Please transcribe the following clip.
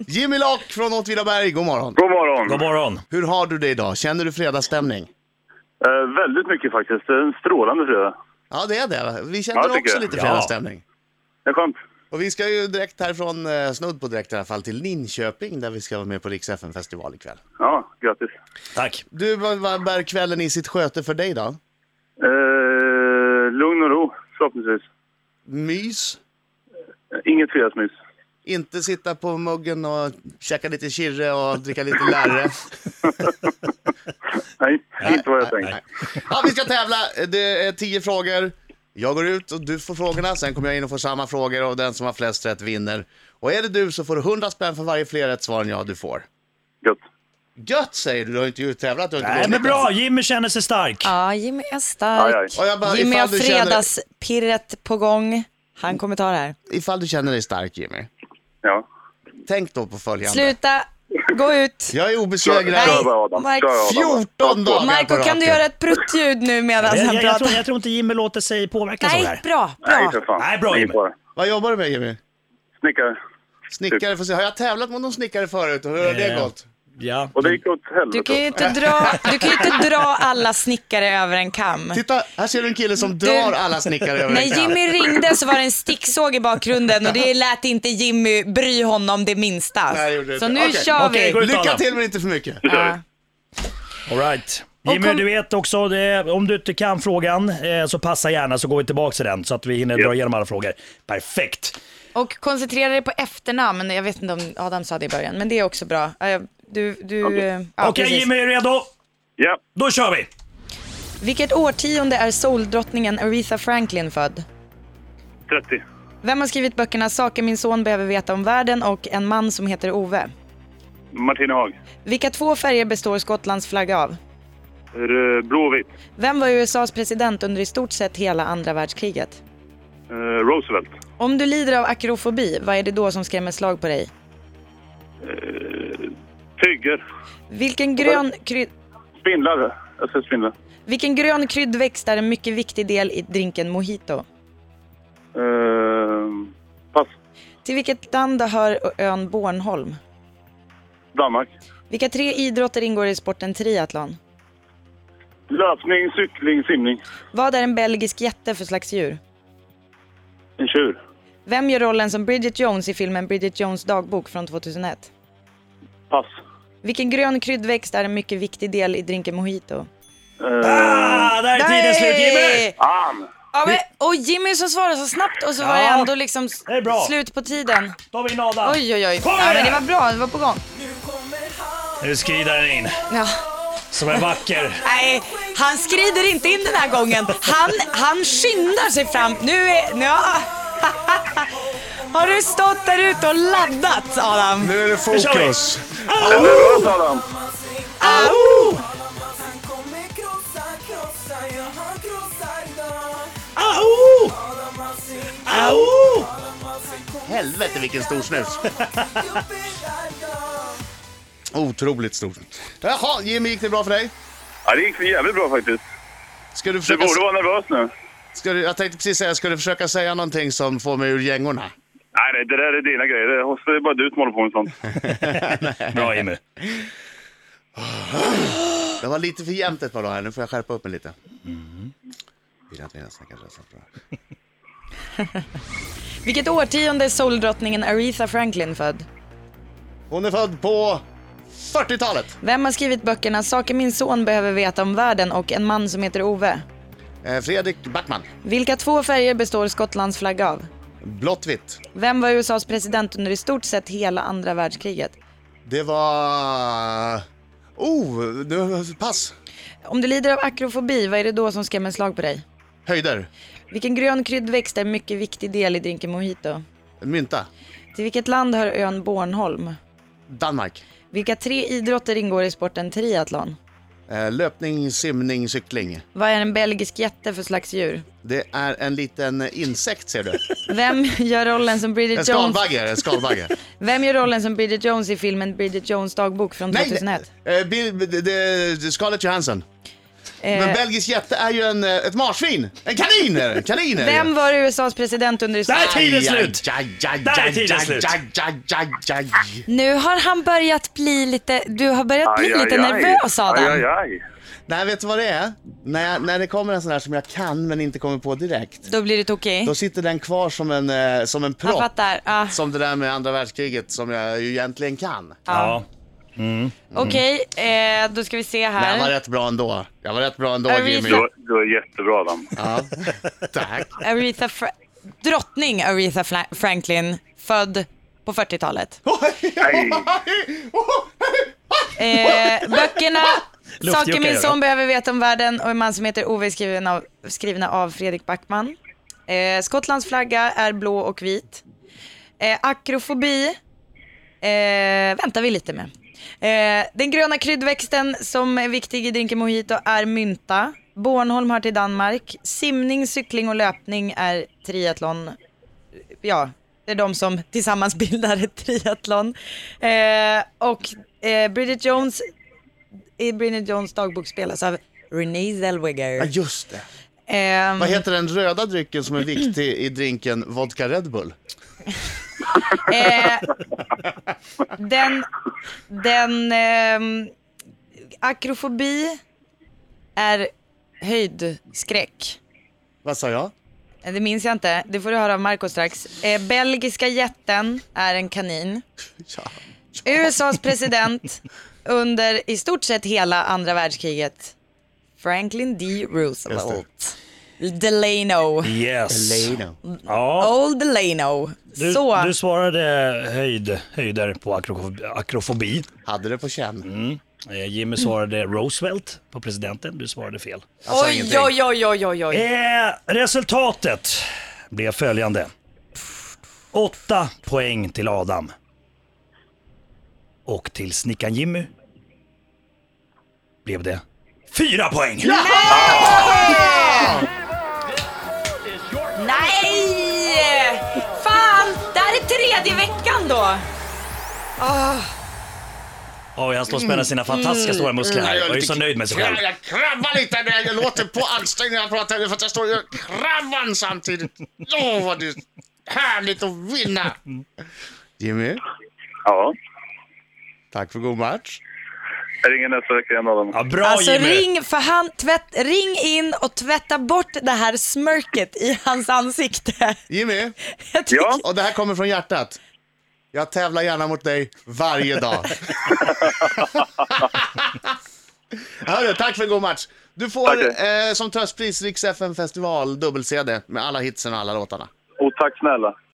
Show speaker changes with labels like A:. A: Jimmy Lock från Åtvidaberg, god morgon.
B: God morgon.
C: God morgon.
A: Hur har du det idag? Känner du fredagsstämning?
B: Eh, väldigt mycket faktiskt. Det är en strålande fredag.
A: Ja, det är det. Vi
B: Ja,
A: känner
B: tycker
A: också
B: jag.
A: lite
C: Ja.
A: fredagsstämning.
B: Det är skönt.
A: Och vi ska ju direkt härifrån, eh, snudd på direkt i alla fall, till Linköping där vi ska vara med på Rix festival ikväll.
B: Ja, grattis.
C: Tack.
A: Du, vad, vad bär kvällen i sitt sköte för dig då?
B: Eh, lugn och ro, förhoppningsvis.
A: Mys?
B: Eh, Inget fredagsmys.
A: Inte sitta på muggen och käka lite kirre och dricka lite lärre.
B: Nej, inte vad jag tänkt.
C: nej.
A: Ja, vi ska tävla. Det är tio frågor. Jag går ut och du får frågorna, sen kommer jag in och får samma frågor och den som har flest rätt vinner. Och är det du så får du 100 spänn för varje fler rätt svar än jag du får.
B: Gött.
A: Gött säger du, du har inte ju tävlat, du har inte
C: Nej, men
A: vunnit
C: bra,
A: ens.
C: Jimmy känner sig stark.
D: Ja, Jimmy är
B: Aj, aj.
D: stark.
A: Och jag bara,
D: Jimmy har
A: ifall, du känner,
D: fredagspirret på gång. Han kommer ta det här.
A: ifall du känner dig stark Jimmy,
B: Ja.
A: tänk då på följande.
D: Sluta, gå ut.
A: Jag är obesegrad.
D: Nej.
B: Kör bara Adam.
D: Mark-
B: Kör bara, Adam.
A: 14 dagar på
D: Marco, kan du
A: raken.
D: göra ett pruttljud nu medan
C: Jag,
D: han
C: jag, jag, tror,
D: pratar?
C: jag tror inte Jimmy låter sig påverkas av det
D: Nej,
C: här.
D: bra,
B: Nej,
D: bra.
B: för fan.
C: Nej, bra,
B: Ingen
C: Jimmy.
B: fara.
A: Vad jobbar du med Jimmy?
B: Snickare.
A: Snickare, får se. Har jag tävlat mot någon snickare förut och hur har det
C: Eh,
A: gått?
C: Ja.
B: Och det gick åt
D: Du kan ju
B: helvete.
D: inte dra, du kan ju inte dra alla snickare över en kam.
A: Titta, här ser du en kille som drar alla snickare över
D: När
A: en kam.
D: Jimmy ringde så var det en sticksåg i bakgrunden och det lät inte Jimmy bry honom det minsta.
A: Nej, det gjorde det
D: så
A: inte.
D: nu
A: Okej.
D: kör
C: Okej,
D: vi.
C: gå ut,
A: Lycka
C: Adam.
A: till men inte för mycket.
D: Ja.
C: All right. Jimmy,
D: kom-
C: du vet också, det, om du inte kan frågan eh, så passa gärna så går vi tillbaka till den så att vi hinner dra igenom alla frågor. Perfekt.
D: Och koncentrera dig på efternamn. Jag vet inte om Adam sa det i början, men det är också bra. Ja, jag- Du, du, eh, ja,
C: Okej
D: precis.
C: Jimmy, är du redo?
B: Ja.
C: Då kör vi!
D: Vilket årtionde är soldrottningen Aretha Franklin född?
B: 30.
D: Vem har skrivit böckerna Saker min son behöver veta om världen och En man som heter Ove?
B: Martina Haag.
D: Vilka två färger består Skottlands flagga av?
B: R- Blå och vit.
D: Vem var USAs president under i stort sett hela andra världskriget?
B: Eh, Roosevelt.
D: Om du lider av akrofobi, vad är det då som skrämmer slag på dig?
B: Tyger.
D: Vilken grön, kryd-
B: Spindlar. Jag ser spindlar.
D: vilken grön kryddväxt är en mycket viktig del i drinken mojito?
B: Eh, pass.
D: Till vilket land hör ön Bornholm?
B: Danmark.
D: Vilka tre idrotter ingår i sporten triathlon?
B: Löpning, cykling, simning.
D: Vad är en belgisk jätte för slags djur?
B: En tjur.
D: Vem gör rollen som Bridget Jones i filmen Bridget Jones dagbok från 2001?
B: Pass.
D: Vilken grön kryddväxt är en mycket viktig del i drinken mojito?
B: Eh,
C: Ah, där är tiden slut Jimmy!
B: Fan!
D: Ja, men, och Jimmy som svarade så snabbt och så var det
C: Ja,
D: ändå liksom s-
C: det är bra.
D: slut på tiden.
C: Då har vi in Adam.
D: Oj, oj, oj.
C: Kom
D: Ja, men
C: igen!
D: det var bra, det var på gång.
C: Nu skrider den in,
D: Ja.
C: som en vacker.
D: Nej, han skrider inte in den här gången. Han, han skyndar sig fram. Nu är... Nu, ja. Har du stått där ute och laddat, Adam?
A: Nu är det
C: Nu kör vi.
A: fokus.
B: Är du nervös Adam?
D: Au!
E: Han kommer krossa, krossa, ja han krossar dem
C: Au!
E: Adam Alsing,
C: Au!
E: Adam Alsing kommer
A: Helvete vilken stor snus.
E: krossa dem
A: Otroligt stor. Jaha, Jimmy gick det bra för dig?
B: Ja, det gick för jävligt bra faktiskt.
A: Ska du
B: Du
A: försöka,
B: borde vara nervös nu.
A: ska du, jag tänkte precis säga, ska du försöka säga någonting som får mig ur gängorna?
B: Nej, nej, det där är dina grejer. Det är- Det är bara du som håller på med sånt.
C: Bra Jimmy.
A: Det var lite för jämnt ett par dagar här, nu får jag skärpa upp mig lite. Vill att vi nästan kan rösta på det här.
D: Vilket årtionde är soldrottningen Aretha Franklin född?
A: Hon är född på 40-talet.
D: Vem har skrivit böckerna Saker min son behöver veta om världen och En man som heter Ove?
A: Eh, Fredrik Backman.
D: Vilka två färger består Skottlands flagga av?
A: Blått vitt.
D: Vem var USAs president under i stort sett hela andra världskriget?
A: Det var... Oh, nu, pass.
D: Om du lider av akrofobi, vad är det då som skrämmer slag på dig?
A: Höjder.
D: Vilken grön kryddväxt är en mycket viktig del i drinken mojito?
A: Mynta.
D: Till vilket land hör ön Bornholm?
A: Danmark.
D: Vilka tre idrotter ingår i sporten triathlon?
A: Eh, löpning, simning, cykling.
D: Vad är en belgisk jätte för slags djur?
A: Det är en liten insekt ser du.
D: Vem gör rollen som
A: En
D: Bridget Jones?
A: skalbagge är det, en skalbagge.
D: Vem gör rollen som Bridget Jones i filmen Bridget Jones dagbok från
A: Nej, eh,
D: 2001?
A: nej. Eh, Bill, det, det, Scarlett Johansson. Men
D: Eh.
A: belgisk jätte är ju en, eh, ett marsvin. En kanin är det. Kanin är det.
D: Vem var USAs president under
C: Där är
D: Isak?
C: tiden slut!
A: Ja, ja, ja,
C: Där är
A: ja,
C: tiden
A: ja,
C: slut.
A: ja, ja, ja, ja, ja.
D: Nu har han börjat bli lite, du har börjat bli lite nervös Adam.
B: Aj, aj, aj.
A: Nej, vet du vad det är? När, när det kommer en sån här som jag kan men inte kommer på direkt.
D: Då blir det tokig.
A: Då sitter den kvar som en, eh, som en
D: Jag
A: propp.
D: fattar. Ah.
A: Som det där med andra världskriget som jag ju egentligen kan.
C: Ja.
D: ah. Okej, eh, då ska vi se
A: Men jag var
D: här.
A: rätt bra ändå. Jag var rätt bra ändå
D: Är vi
A: Jimmy.
D: så-
B: Du, du är jättebra Adam.
A: Ja. Tack.
D: Aretha Fra- Drottning Aretha Fla- Franklin, född på 40-talet.
B: Nej.
D: Eh, böckerna Saker
C: Luftjuckar gör
D: min
C: det.
D: son behöver veta om världen och en man som heter Ove skriven av, skrivna av Fredrik Backman. Eh, Skottlands flagga är blå och vit. Eh, akrofobi eh, väntar vi lite med. Eh, den gröna kryddväxten som är viktig i drinken mojito är mynta. Bornholm hör till Danmark. Simning, cykling och löpning är triathlon. Ja, det är de som tillsammans bildar ett triathlon. Eh, och eh, Bridget Jones i Bridget Jones dagbok spelas av Renée
A: Ja,
D: Zellweger.
A: just det.
D: Ehm,
A: Vad heter den röda drycken som är viktig i drinken vodka Red Bull?
D: eh, den den ehm, akrofobi är höjdskräck.
A: Vad sa jag?
D: Eh, Det minns jag inte. Det får du höra av Marco strax. Eh, belgiska jätten är en kanin.
A: Ja.
D: USAs president under i stort sett hela andra världskriget. Franklin D. Roosevelt. Delano.
C: Mm. Yes.
A: Elena.
C: Ja.
D: Old Delano.
C: Du,
D: Så.
C: du svarade höjd, höjder på akrofobi. akrofobi.
A: Hade det på känn.
C: Eh, Jimmy svarade Roosevelt på presidenten. Du svarade fel.
A: Jag sa
D: Oj,
A: ingenting.
D: oj, oj, oj, oj, oj.
C: Eh, resultatet blev följande. Åtta poäng till Adam. Och till snickaren Jimmy blev det fyra poäng.
D: Nej! Fan! Det här är tredje veckan då.
C: Oj, han står och spänner sina fantastiska stora muskler här.
D: Mm.
C: Jag är ju så nöjd med sig själv.
A: Ja, Jag krabbar lite när jag låter på ansträngning när jag pratar för att jag står och krabbar samtidigt. Åh, vad det är härligt att vinna! Jimmy,
B: Ja.
A: tack för god match.
B: Jag ringer nästa vecka igen Adam.
C: Ja, bra
D: Alltså
C: Jimmy!
D: ring, för han, tvätt, ring in och tvätta bort det här smörket i hans ansikte.
A: Jimmy,
D: Jag tycker-
B: Ja.
A: och det här kommer från hjärtat. Jag tävlar gärna mot dig varje dag. Hörru, tack för god match. Du får
B: Tack.
A: eh, som tröstpris Riks FN festival dubbel-CD med alla hitsen och alla låtarna.
B: Och tack snälla.